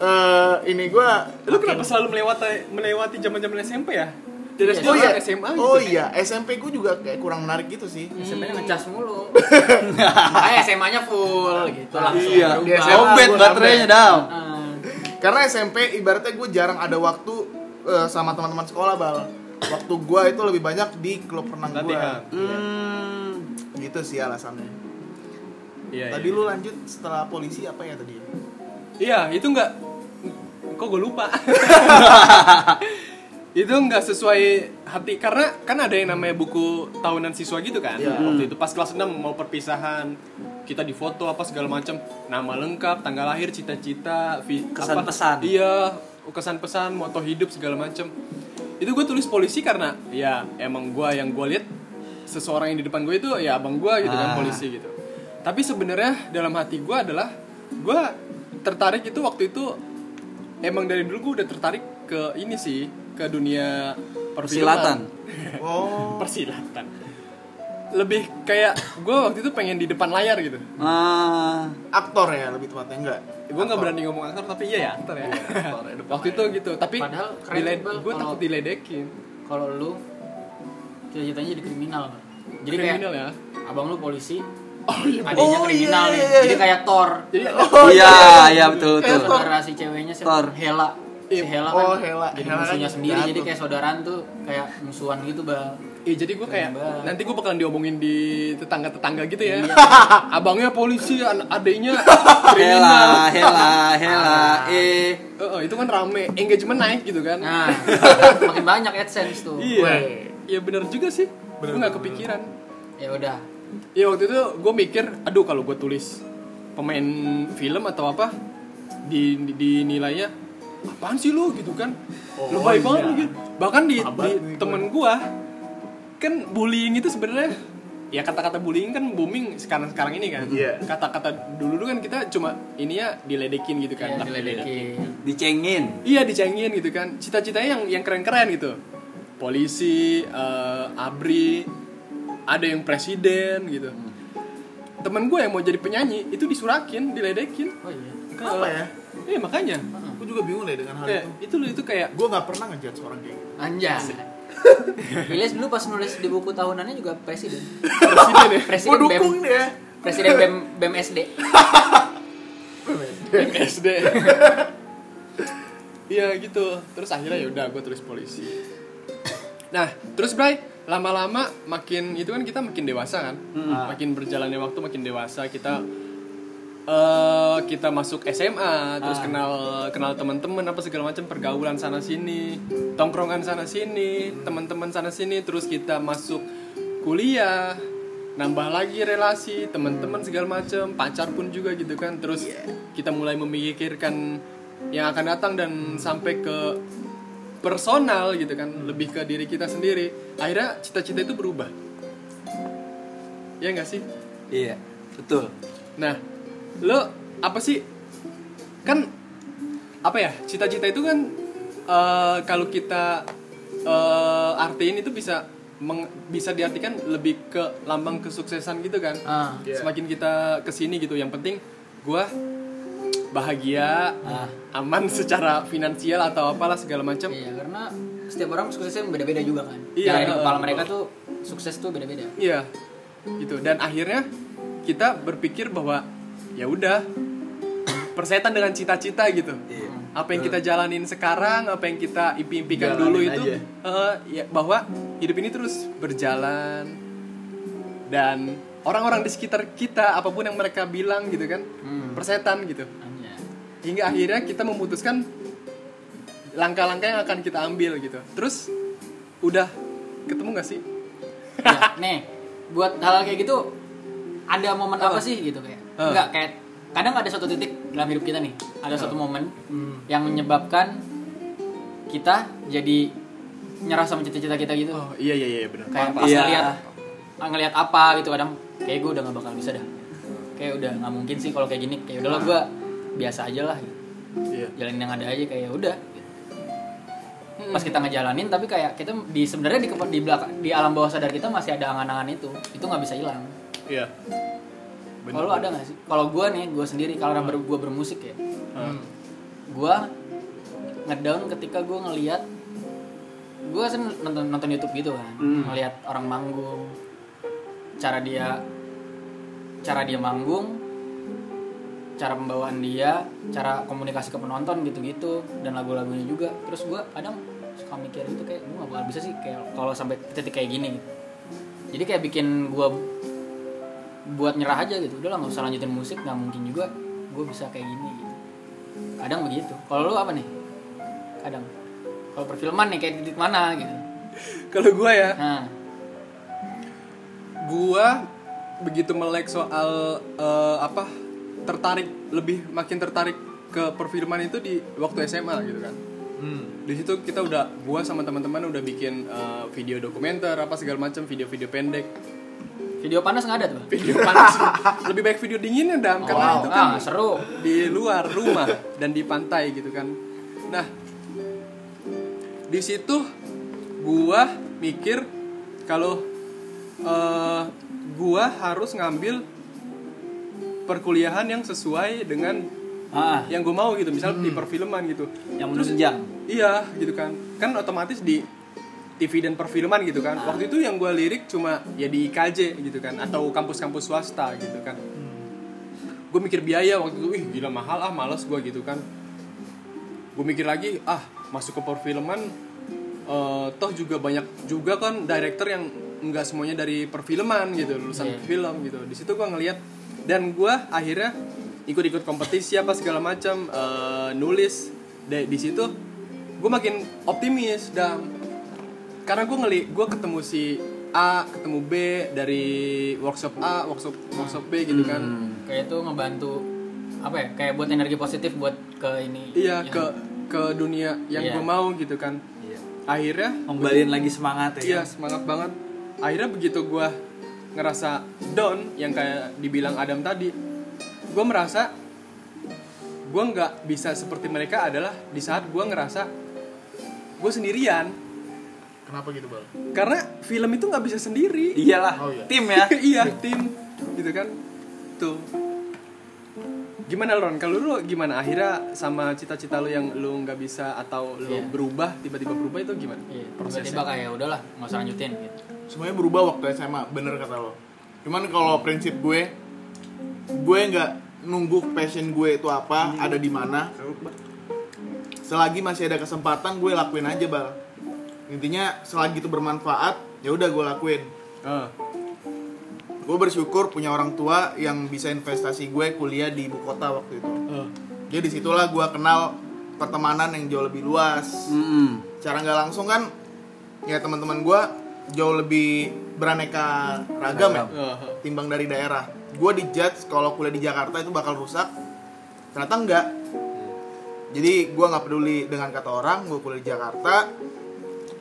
B: eh, ini gua
C: lu kenapa selalu melewati melewati zaman-zaman SMP ya? Dari SD ke
D: Iya,
B: Oh iya,
C: SMA gitu. Hmm.
B: oh iya, SMP gue juga kayak kurang menarik gitu sih.
D: SMP-nya ngecas mulu. Makanya SMA-nya full gitu langsung
A: Iya.
B: Di
D: berubah.
B: SMA.
A: Obet
B: gua
A: baterainya
B: sampai.
A: down.
D: Nah,
B: Karena SMP ibaratnya gue jarang ada waktu eh, sama teman-teman sekolah bal. Waktu gua itu lebih banyak di klub renang
C: Latihan.
B: gua. Iya.
A: Hmm.
B: Gitu sih alasannya.
C: Iya.
B: Tadi lu lanjut setelah polisi apa ya tadi?
C: Iya, itu nggak kok gue lupa. itu nggak sesuai hati karena kan ada yang namanya buku tahunan siswa gitu kan
B: Iya.
C: waktu itu pas kelas 6 mau perpisahan kita difoto apa segala macam nama lengkap tanggal lahir cita-cita vi-
A: Kesan
C: apa-
A: pesan.
C: iya kesan pesan moto hidup segala macam itu gue tulis polisi karena ya emang gue yang gue lihat seseorang yang di depan gue itu ya abang gue gitu kan
A: Ah.
C: polisi gitu tapi sebenarnya dalam hati gue adalah gue tertarik itu waktu itu emang dari dulu gue udah tertarik ke ini sih ke dunia
A: Persilatan.
C: perfilman
B: Oh,
C: persilatan lebih kayak gue waktu itu pengen di depan layar gitu
A: Ah.
B: aktor ya lebih tepatnya enggak?
C: gue nggak berani ngomong aktor tapi iya ya aktor ya waktu itu gitu tapi
D: Padahal keren, Iqbal,
C: gue
D: kalau-
C: takut diledekin
D: kalau lu cita-citanya jadi kriminal. Bang. Jadi
C: kriminal
D: kayak
C: ya
D: abang lu polisi,
C: oh iya
D: adiknya
B: Oh,
D: kriminal
B: iya,
D: nih.
B: iya, iya.
D: Jadi kayak Thor.
C: jadi
D: Oh.
A: Iya, iya betul
B: Kayak
A: betul.
B: Thor.
D: Saudara si ceweknya siapa?
A: Thor.
D: Hela. Si Hela kan.
B: Oh, Hela.
D: Jadi
B: Hela kan
D: musuhnya sendiri.
B: jatuh.
D: Jadi kayak saudaraan tuh kayak musuhan gitu, Bang.
C: Iya jadi gue kayak
D: Keren banget. Iya.
C: nanti gue bakalan diomongin di tetangga-tetangga gitu ya. Abangnya polisi, an- adeknya kriminal.
A: Hela, hela, hela.
C: Ah.
A: Eh.
C: Heeh, itu kan rame, engagement naik gitu kan.
D: Nah, makin banyak AdSense tuh.
C: iya.
B: weh.
C: Iya benar juga sih. Gue nggak kepikiran.
D: Ya udah.
C: Iya waktu itu gue mikir, aduh kalau gue tulis pemain film atau apa di, di- dinilainya apaan sih lu gitu kan
B: Oh,
C: lu baik banget
B: iya. gitu.
C: lu gitu bahkan di,
B: Sahabat
C: di
B: nih gua.
C: temen gua kan bullying itu sebenarnya ya kata-kata bullying kan booming sekarang sekarang ini kan
B: Iya.
C: kata-kata dulu dulu kan kita cuma ininya diledekin gitu kan
D: Kayak
C: Nah,
D: Iya, diledekin.
A: dicengin
C: Iya dicengin gitu kan. Cita-citanya yang yang keren-keren gitu. Polisi, eh, abri, ada yang presiden gitu. Temen gue yang mau jadi penyanyi itu disurakin, diledekin.
D: Oh iya.
C: Ke,
B: Kenapa ya?
C: Iya makanya.
B: Gue juga bingung deh dengan hal
C: Kayak,
B: itu.
C: itu lu itu kayak
B: Gue nggak pernah ngejudge orang kayak gitu.
D: Anjay. Ilyas dulu pas nulis di buku tahunannya juga presiden.
C: presiden ya.
B: Gue
D: Presiden BEM,
B: dukung dia.
D: presiden BEM, BEM SD.
C: SD. Iya gitu. Terus akhirnya ya udah gue tulis polisi. Nah, terus Bray, lama-lama makin itu kan kita makin dewasa kan? Makin berjalannya waktu makin dewasa kita eh kita masuk SMA, terus kenal kenal teman-teman apa segala macam pergaulan sana sini, tongkrongan sana sini, teman-teman sana sini, terus kita masuk kuliah, nambah lagi relasi, teman-teman segala macam, pacar pun juga gitu kan. Terus kita mulai memikirkan yang akan datang dan sampai ke personal gitu kan, lebih ke diri kita sendiri. Akhirnya cita-cita itu berubah. Ya nggak sih?
A: iya betul
C: Nah, lo apa sih? Kan apa ya? Cita-cita itu kan eh, kalau kita eh, artiin itu bisa meng- bisa diartikan lebih ke lambang kesuksesan gitu kan.
D: Ah.
B: Iya.
C: Semakin kita kesini gitu, yang penting gua bahagia,
A: Ah.
C: aman secara finansial atau apalah segala macam.
D: Iya, karena setiap orang suksesnya beda-beda juga kan.
C: Iya,
D: Cara di
C: eh,
D: kepala
C: eh.
D: mereka tuh sukses tuh beda-beda.
C: Iya. Gitu. Dan akhirnya kita berpikir bahwa ya udah persetan dengan cita-cita gitu.
A: Iya.
C: Apa yang kita jalanin sekarang, apa yang kita impi-impikan
B: Jalanin
C: dulu itu
B: aja.
C: eh, ya bahwa hidup ini terus berjalan dan orang-orang di sekitar kita apapun yang mereka bilang gitu kan,
B: Hmm.
C: persetan gitu.
D: Anjay.
C: Hingga akhirnya kita memutuskan langkah-langkah yang akan kita ambil gitu. Terus udah ketemu gak sih?
D: Iya, nih buat hal kayak gitu ada momen apa, sih gitu kayak
C: Apa?
D: enggak kayak kadang ada suatu titik dalam hidup kita nih ada suatu momen
C: Hmm.
D: yang menyebabkan kita jadi nyerah sama cita-cita kita gitu
C: Oh, iya iya iya benar.
D: kayak
A: paham,
D: pas
A: iya.
D: ngeliat ah, ngeliat apa gitu kadang kayak gue udah nggak bakal bisa dah kayak udah nggak mungkin sih kalau kayak gini kayak udahlah gue biasa aja lah gitu.
C: Ah. Iya.
D: jalanin yang ada aja kayak udah gitu. pas
C: Hmm.
D: kita ngejalanin tapi kayak kita di sebenarnya di kepa- di belakang di alam bawah sadar kita masih ada angan-angan itu itu nggak bisa hilang
C: Iya. Bener.
D: kalau lu ada nggak sih kalau gue nih gue sendiri kalau ber gue bermusik ya
C: Hmm.
D: gue ngedown ketika gue ngeliat gue kan nonton nonton YouTube gitu kan ngeliat orang manggung cara dia cara dia manggung cara pembawaan dia cara komunikasi ke penonton gitu-gitu dan lagu-lagunya juga terus gue kadang suka mikir gitu kayak gue gak bakal bisa sih kayak kalau sampai ke titik kayak gini gitu. jadi kayak bikin gue buat nyerah aja gitu udah lah nggak usah lanjutin musik nggak mungkin juga gue bisa kayak gini gitu kadang begitu kalau lu apa nih kadang kalau perfilman nih kayak di titik mana gitu
C: Kalau gua ya,
D: nah
C: gua begitu melek soal eh, apa tertarik lebih makin tertarik ke perfilman itu di waktu SMA gitu kan.
D: Hmm.
C: Di situ kita udah gua sama teman-teman udah bikin eh, video dokumenter apa segala macam video-video pendek,
D: video panas nggak ada tuh
C: video panas. lebih baik video dinginnya dam karena
D: wow
C: itu kan
D: ah, seru
C: di luar rumah dan di pantai gitu kan. Nah, di situ gua mikir kalau eh, gua harus ngambil perkuliahan yang sesuai dengan
A: ah
C: yang gue mau gitu, misal di perfilman gitu.
A: Hmm. yang menunjang
C: Iya, gitu kan. Kan otomatis di TV dan perfilman gitu kan. Waktu itu yang gue lirik cuma ya di IKJ gitu kan atau kampus-kampus swasta gitu kan. Gue mikir biaya waktu itu, ih gila mahal ah, males gue gitu kan. Gue mikir lagi, ah masuk ke perfilman eh, toh juga banyak juga kan director yang nggak semuanya dari perfilman gitu, lulusan
D: Iya.
C: film gitu. Di situ gue ngeliat dan gue akhirnya ikut-ikut kompetisi apa segala macam eh, nulis di, di situ gue makin optimis dan karena gue ngeli gue ketemu si A ketemu B dari workshop A workshop workshop B gitu kan
D: kayak itu ngebantu apa ya kayak buat energi positif buat ke ini
C: iya
D: yang-
C: ke ke dunia yang
D: Iya.
C: gue mau gitu kan
A: Iya.
C: akhirnya
A: Kembaliin lagi semangat
C: Iya
A: ya.
C: semangat banget. Akhirnya begitu gua ngerasa down yang kayak dibilang Adam tadi, gua merasa gua nggak bisa seperti mereka adalah di saat gua ngerasa gue sendirian
B: Kenapa gitu bal?
C: karena film itu nggak bisa sendiri.
A: Iyalah,
B: Oh, iya.
A: tim ya.
C: iya tim gitu kan tuh gimana Ron kalau lu gimana akhirnya sama cita-cita lu yang lu nggak bisa atau lu
D: Iya.
C: berubah tiba-tiba berubah itu gimana
D: Iya,
C: prosesnya
D: tiba-tiba kayak udahlah nggak usah lanjutin gitu.
B: Semuanya berubah waktu SMA, bener kata lo. Cuman kalau prinsip gue, gue nggak nunggu passion gue itu apa, ada di mana. Selagi masih ada kesempatan, gue lakuin aja bal. Intinya selagi itu bermanfaat, ya udah gue lakuin.
C: Ah,
B: Gue bersyukur punya orang tua yang bisa investasi gue kuliah di ibu kota waktu itu.
C: ah.
B: Jadi disitulah gue kenal pertemanan yang jauh lebih luas.
A: Mm-mm.
B: Cara nggak langsung kan, ya teman-teman gue jauh lebih beraneka ragam ya,
C: Ah, ah.
B: timbang dari daerah. Gue dijudge kalau kuliah di Jakarta itu bakal rusak. Ternyata enggak. Jadi gue nggak peduli dengan kata orang, gue kuliah di Jakarta.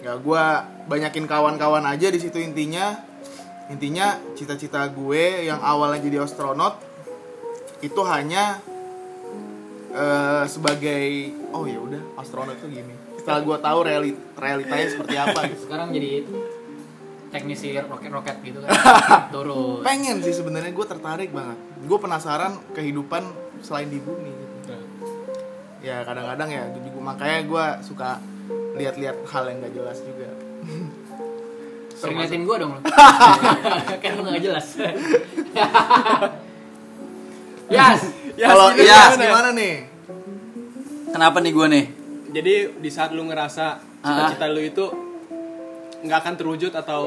B: Ya gue banyakin kawan-kawan aja di situ intinya. Intinya cita-cita gue yang awalnya jadi astronot itu hanya eh, sebagai oh ya udah astronot tuh gini. Setelah gue tahu reali- realitanya seperti apa gitu.
D: Sekarang jadi teknisi roket-roket gitu kan.
C: Eh,
D: Turun.
B: pengen sih sebenarnya gue tertarik banget gue penasaran kehidupan selain di bumi gitu. ya kadang-kadang ya gua juga makanya gue suka lihat-lihat hal yang gak jelas juga
D: Sering ngeliatin gue dong lu. Kayak lu gak jelas. yes.
C: Ya,
A: Kalau
C: Steven,
A: iya,
B: Mas, gimana nih
A: Kenapa nih gue nih?
C: Jadi di saat lu ngerasa cita-cita lu itu nggak akan terwujud atau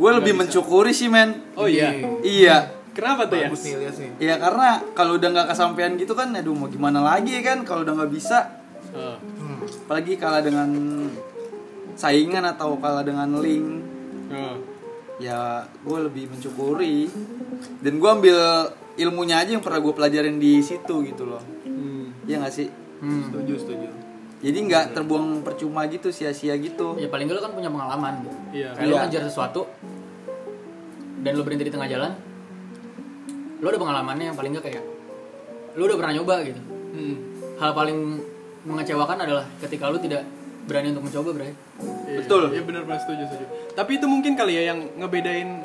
A: Gue
C: nggak
A: lebih
C: bisa.
A: mencukuri sih, men.
C: Oh iya.
A: Iya.
C: Kenapa tuh ya?
B: bagus nih lihat sih
A: Iya karena kalau udah nggak kesampaian gitu kan, aduh mau gimana lagi ya kan? Kalau udah nggak bisa,
C: Eh,
B: Hmm.
A: apalagi kalah dengan saingan atau kalah dengan link,
C: eh.
A: ya gue lebih mencukuri. Dan gue ambil ilmunya aja yang pernah gue pelajarin di situ gitu loh.
C: Hmm.
A: Iya nggak sih?
D: Hmm.
B: setuju setuju
A: Jadi nggak terbuang percuma gitu, sia-sia gitu.
D: Ya paling gak lu kan punya pengalaman gitu.
C: Iya.
D: Kayak lu
A: Iya.
D: ngejar sesuatu dan lu berhenti di tengah jalan. Lu ada pengalamannya yang paling gak kayak lu udah pernah nyoba gitu.
C: Hmm.
D: Hal paling mengecewakan adalah ketika lu tidak berani untuk mencoba, Bray.
C: Iya.
A: Betul.
C: Iya benar benar setuju setuju. Tapi itu mungkin kali ya yang ngebedain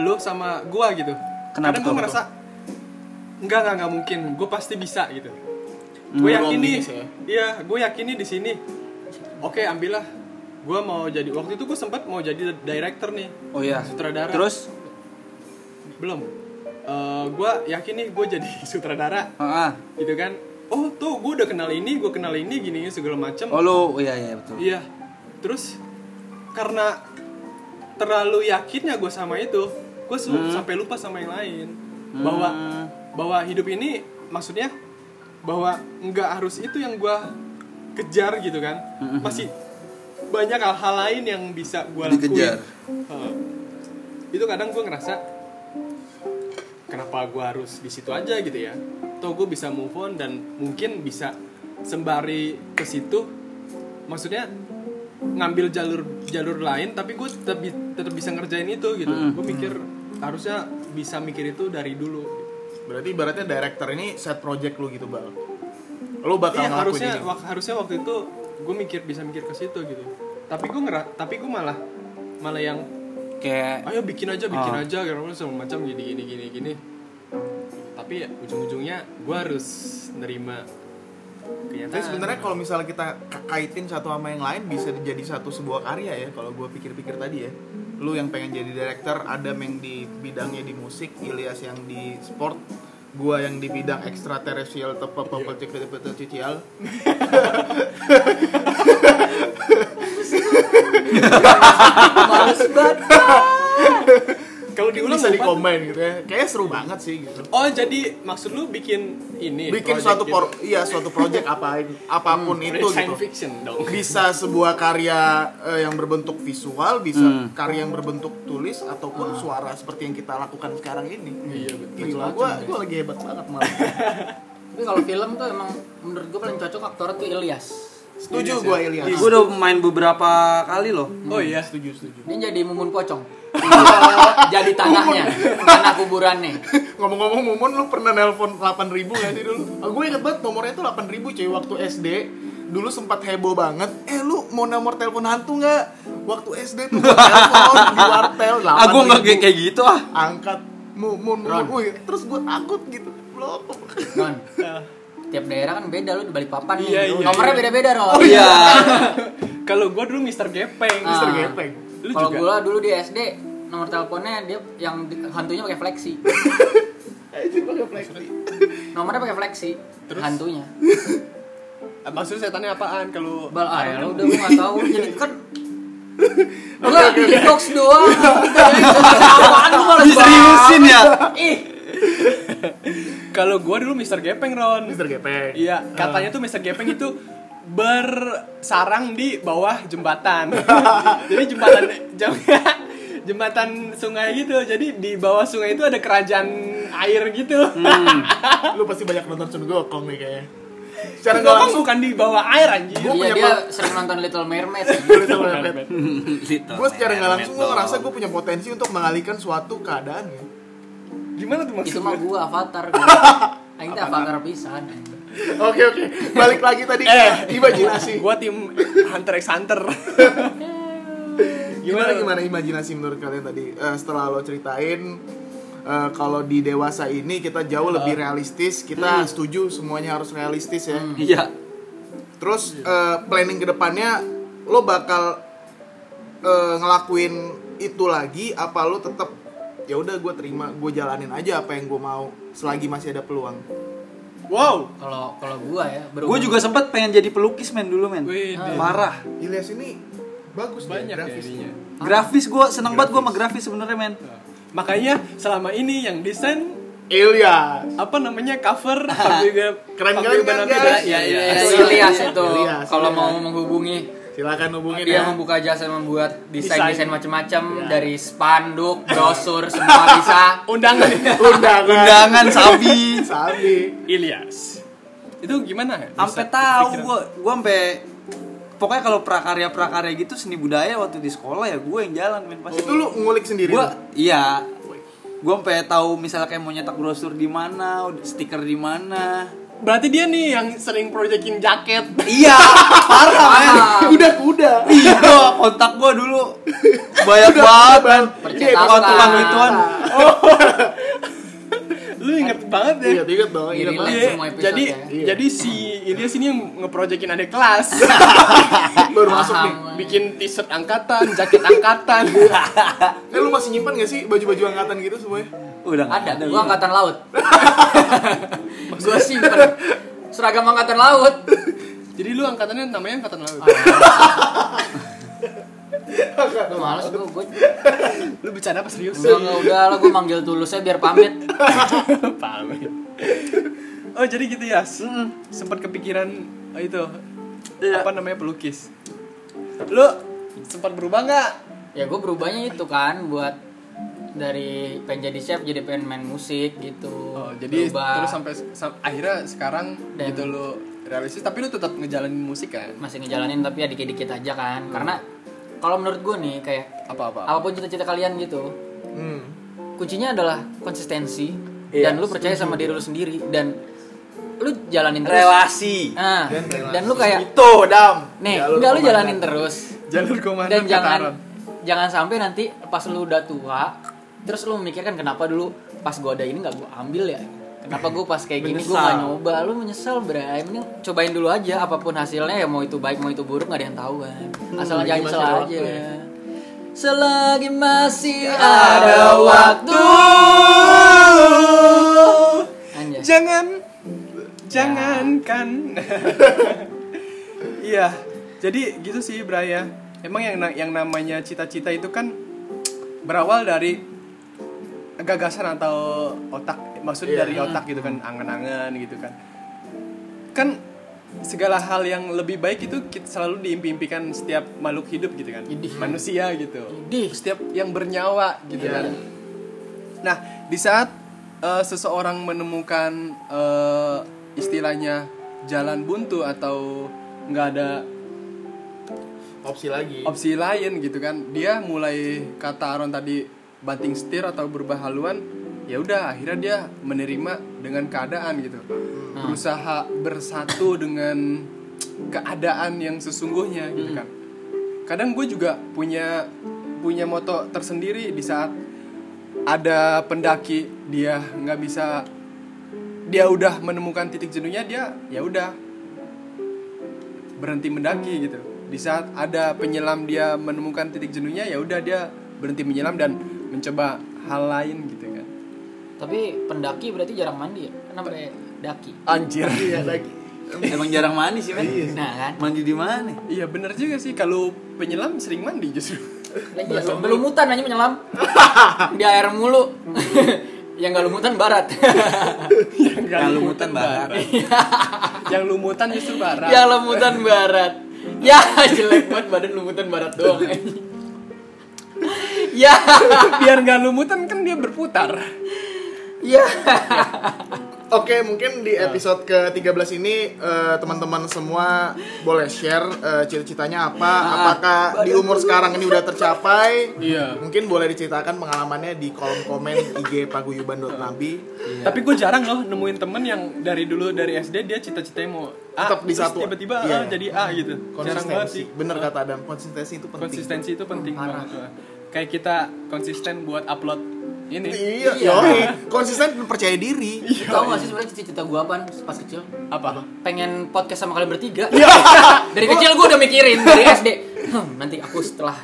C: lu sama gua gitu.
A: Kenapa
C: Kadang gua
A: tuh?
C: ngerasa enggak enggak enggak mungkin, gua pasti bisa gitu.
A: Hmm.
C: Gue yakin nih,
B: optimis
A: gitu
B: ya.
C: iya, gue yakin nih di sini. Oke, ambillah. Gue mau jadi waktu itu gue sempat mau jadi director nih.
A: Oh iya.
C: Sutradara.
A: Terus?
C: belum gue yakin nih gue jadi sutradara
A: Ah, ah.
C: gitu kan oh tuh gue udah kenal ini gue kenal ini gini segala macem
A: Oh lu, iya iya betul.
C: iya terus karena terlalu yakinnya gue sama itu gue sampai lupa sama yang lain bahwa bahwa hidup ini maksudnya bahwa nggak harus itu yang gue kejar gitu kan masih banyak hal-hal lain yang bisa gue lakuin
A: Dikejar.
C: Heeh. itu kadang gue ngerasa kenapa gue harus di situ aja gitu ya toh gue bisa move on dan mungkin bisa sembari ke situ maksudnya ngambil jalur jalur lain tapi gue tetap, bi- tetap bisa ngerjain itu gitu gue mikir harusnya bisa mikir itu dari dulu
B: berarti ibaratnya director ini set project lu gitu bal lu bakal
C: iya
B: ngelakuin
C: harusnya
B: ini
C: wak- harusnya waktu itu gue mikir bisa mikir ke situ gitu tapi gue ngera tapi gue malah malah yang
A: Kayak
C: ayo bikin aja bikin
A: Ah.
C: aja karena segala macam gini gini gini gini tapi ya ujung-ujungnya gue harus nerima
B: tapi
C: kenyataan
B: sebenarnya kalau misalnya kita ka- kaitin satu sama yang lain bisa jadi satu sebuah karya ya kalau gue pikir-pikir tadi ya lu yang pengen jadi director Adam yang di bidangnya di musik Ilyas yang di sport gue yang di bidang ekstraterrestrial tepat cicial
D: Males banget.
C: kalau
B: Mungkin
C: diulang
B: bisa
C: lupa.
B: dikombin gitu ya kayaknya seru banget sih gitu
C: oh jadi maksud lu bikin ini
B: bikin
C: project
B: suatu
C: gitu.
B: por iya suatu project apain apapun itu
C: science
B: gitu
C: fiction dong
B: bisa sebuah karya eh, yang berbentuk visual bisa karya yang berbentuk tulis ataupun suara seperti yang kita lakukan sekarang ini
C: iya betul
B: Gila, gua, gua lagi hebat banget malah
D: Tapi kalau film tuh emang menurut gue paling cocok aktor tuh Ilyas.
B: Setuju gua Ilyas.
A: Gue udah main beberapa kali loh.
C: Oh iya.
B: Hmm, Setuju, setuju.
D: Dia jadi Mumun Pocong. jadi tanahnya, tanah kuburannya.
B: Ngomong-ngomong Mumun lu pernah nelpon 8000 gak sih dulu? Ah, gue inget banget nomornya tuh 8000 cuy waktu SD. Dulu sempat heboh banget. Eh lu mau nomor telepon hantu nggak? Waktu SD tuh gua telepon di wartel
A: Ah, gue nggak
B: 8.000.
A: kayak kayak gitu ah.
B: angkat Mumun, Mumun.
D: Ron.
B: Wih, terus gue takut gitu. Blok.
D: Ron, tiap daerah kan beda lu di balik papan nih.
C: Iya, iya,
D: Nomornya
C: iya.
D: beda-beda Ron.
A: Oh iya.
C: Kalau gua dulu Mr. Gepeng.
D: Ah.
B: Mister Gepeng.
C: Lu
D: Kalau
C: juga?
D: gua dulu di SD nomor teleponnya dia yang di- hantunya pakai fleksi.
B: Anjir pakai flexi.
D: Nomornya pakai fleksi.
C: Terus?
D: Hantunya.
C: Maksudnya setannya apaan kalau
D: Bal ah, ya, udah gua enggak tahu jadi kan Enggak, di jokes doang. Apaan lu malah
A: Diseriusin ya.
D: Ih,
C: kalau gua dulu Mr. Gepeng Ron.
B: Mister Gepeng.
C: Iya, katanya tuh Mr. Gepeng itu bersarang di bawah jembatan. jadi jembatan jem- jembatan sungai gitu. Jadi di bawah sungai itu ada kerajaan air gitu.
B: lu pasti banyak nonton Sun Gokong nih kayaknya.
C: Karena
B: Secara nggak
C: gua
B: langsung
C: bukan di bawah air anjir.
B: Gua
D: iya
B: punya
D: dia
B: pal-
D: sering nonton Little Mermaid.
A: Gitu,
B: gue secara nggak langsung gue ngerasa gue punya potensi untuk mengalihkan suatu keadaan ya.
C: Gimana tuh
D: Itu
C: maksudnya?
D: mah gua avatar. Aing teh avatar pisan.
B: Oke oke, Eh. balik lagi tadi ke imajinasi.
C: Gua tim Hunter x Hunter.
B: Gimana gimana imajinasi menurut kalian tadi Eh, setelah lo ceritain eh, kalau di dewasa ini kita jauh lebih realistis, kita setuju semuanya harus realistis ya.
A: Iya.
B: Terus eh, planning kedepannya lo bakal eh, ngelakuin itu lagi apa lo tetap ya udah gue terima gue jalanin aja apa yang gue mau selagi masih ada peluang
C: Wow.
D: Kalau kalau gua ya,
A: Gue juga sempet pengen jadi pelukis men dulu men.
C: Wih,
A: Parah.
B: Ilyas ini bagus dia,
C: banyak ya
B: grafisnya.
C: ininya.
A: Grafis gue seneng banget gue sama grafis Nah. sebenarnya men.
C: Makanya selama ini yang desain
B: Ilyas
C: apa namanya cover Fabio
B: Keren-keren kan, guys?
C: ya ya
D: Itu
B: Iya,
D: Ilyas
B: iya,
D: itu.
B: iya,
D: Kalau
B: iya.
D: mau menghubungi
B: silakan hubungin
D: dia
B: ya
D: membuka jasa membuat
C: Iya. Desain.
D: desain-desain macam-macam
B: Iya.
D: dari spanduk, brosur, semua bisa.
C: undangan
B: undangan
A: Undangan sabi.
B: sabi
C: Ilyas itu gimana ya
A: Ampe tahu gue gue ampe pokoknya kalau prakarya prakarya gitu seni budaya waktu di sekolah ya gue yang jalan men pasti.
B: itu lu ngulik sendiri
A: gue
B: lu?
A: iya gue sampai tahu misalnya kayak mau nyetak brosur di mana stiker di mana
C: berarti dia nih yang sering proyekin jaket
A: iya parah men
B: udah kuda
A: iya kontak gue dulu banyak banget men
D: Percetakan.
A: Tukang- tukang gituan
C: lu inget banget ya
B: iya inget dong
D: Iya,
B: inget
D: relate
B: banget
C: Iya,
D: semua episode
C: jadi
B: ya.
C: jadi si Ilyas ini yang ngeproyekin adik kelas
B: baru masuk nih
D: Paham.
C: bikin t-shirt angkatan jaket angkatan
B: eh lu masih nyimpan gak sih baju-baju angkatan gitu semuanya
A: udah nggak
D: Ada,
A: gua.
D: gua angkatan laut. gua simpen seragam angkatan laut.
C: jadi lu angkatannya namanya angkatan laut
D: Gua males gua, gua
C: lu bercanda apa serius
D: udah nggak udah lah gua manggil tulusnya biar pamit.
C: pamit ya. oh jadi gitu ya sempat kepikiran eh, itu
A: Iya.
C: apa namanya pelukis lu sempat berubah nggak
D: Ya gua berubahnya itu kan buat dari pengen jadi chef jadi pengen main musik gitu.
C: oh, jadi
D: Berubah.
C: terus sampai sam- akhirnya sekarang
D: Dan-
C: gitu lu realistis tapi lu tetap ngejalanin musik kan
D: masih ngejalanin tapi ya dikit-dikit aja kan. Karena kalau menurut gua nih kayak
C: apa apa
D: apapun cita-cita kalian gitu,
B: hmm.
D: kuncinya adalah konsistensi
A: Iya,
D: dan lu percaya sama diri lu sendiri dan lu jalanin terus.
A: relasi
D: Nah,
B: Dan
D: dan,
B: relasi.
D: lu kayak
B: itu dam Ya,
D: nih, enggak
B: Jalur
D: lu
B: komandan.
D: jalanin terus
C: jalur komando
D: dan
C: kata
D: jangan
C: Aaron.
D: jangan sampai nanti pas lu udah tua terus lu memikirkan kenapa dulu pas gua ada ini nggak gua ambil ya. Kenapa gua pas kayak gini gua
A: Menyesal.
D: gak nyoba? Lu menyesal, Bray. Mending cobain dulu aja apapun hasilnya ya mau itu baik mau itu buruk nggak ada yang tahu kan. Asal jangan
B: Hmm, masih
D: nyesel
B: ada
D: aja.
B: waktu ya.
D: Selagi masih ada waktu. Oh, Anjay.
C: jangan Ya. jangankan iya jadi gitu sih Braya emang yang na- yang namanya cita-cita itu kan berawal dari gagasan atau otak maksud
B: Iya.
C: dari otak gitu kan angan-angan gitu kan kan segala hal yang lebih baik itu kita selalu diimpi-impikan setiap makhluk hidup gitu kan
D: Idih.
C: manusia gitu
D: Idih.
C: setiap yang bernyawa gitu
B: Iya.
C: kan Nah, di saat eh, seseorang menemukan eh, istilahnya jalan buntu atau nggak ada
B: opsi lagi
C: opsi lain gitu kan dia mulai kata Aaron tadi banting setir atau berubah haluan ya udah akhirnya dia menerima dengan keadaan gitu berusaha bersatu dengan keadaan yang sesungguhnya gitu kan kadang gue juga punya punya moto tersendiri di saat ada pendaki dia nggak bisa dia udah menemukan titik jenuhnya dia ya udah berhenti mendaki gitu. Di saat ada penyelam dia menemukan titik jenuhnya ya udah dia berhenti menyelam dan mencoba hal lain gitu kan.
D: Tapi pendaki berarti jarang mandi ya? Kan sampai daki.
C: Anjir.
B: iya lagi
A: Emang jarang mandi sih, men.
B: Iya.
D: Nah kan.
A: Mandi di mana?
C: Iya bener juga sih kalau penyelam sering mandi justru.
D: Ya, belum mutan aja menyelam. Di air mulu. yang gak lumutan barat.
A: Kalau mutan barat.
C: Yang lumutan justru barat.
D: yang lumutan barat. Ya jelek banget badan lumutan barat doang. anjing. ya.
C: Biar nggak lumutan kan dia berputar.
D: Ya.
B: Oke, mungkin di
C: Ah.
B: episode ke-13 ini eh, teman-teman semua boleh share eh, cita-citanya apa?
C: Ah.
B: Apakah di umur sekarang ini udah tercapai?
C: Iya.
B: Mungkin boleh diceritakan pengalamannya di kolom komen IG paguyuban.nabi.
C: Iya. Tapi gue jarang loh nemuin temen yang dari dulu dari SD dia cita-citanya mau A,
B: Tetap di
C: terus
B: satu.
C: tiba-tiba
B: Iya.
C: A jadi A gitu. Jarang banget sih.
B: Konsistensi. Bener kata Adam, konsistensi itu penting.
C: konsistensi itu penting banget kayak kita konsisten buat upload ini
B: Iya, yoi. Konsisten dan percaya
C: Iya.
B: diri.
C: Ya,
D: Tahu gak sih sebenarnya cita-cita gua apaan pas kecil?
C: apa
D: pengen podcast sama kalian bertiga.
C: Ya.
D: dari kecil gue udah mikirin dari SD. Hmm, nanti aku setelah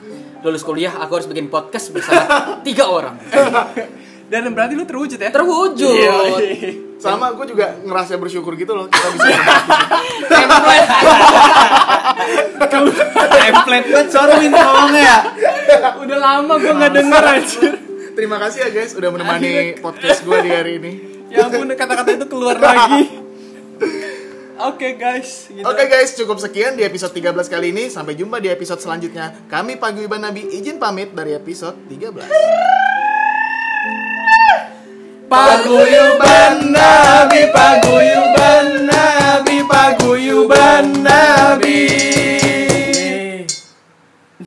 D: lulus kuliah aku harus bikin podcast bersama tiga orang.
C: dan berarti lu terwujud ya
D: Terwujud.
C: Iya.
B: Sama gue juga ngerasa bersyukur gitu loh kita bisa
D: Template.
A: Template banget sorry ngomongnya ya.
C: udah lama gua nggak denger anjir
B: Terima kasih ya guys udah menemani podcast gue di hari ini.
C: ya ampun kata-kata itu keluar lagi oke guys gitu.
B: Oke guys, cukup sekian di episode 13 kali ini. Sampai jumpa di episode selanjutnya. Kami Paguyuban Nabi izin pamit dari episode 13.
C: paguyuban nabi paguyuban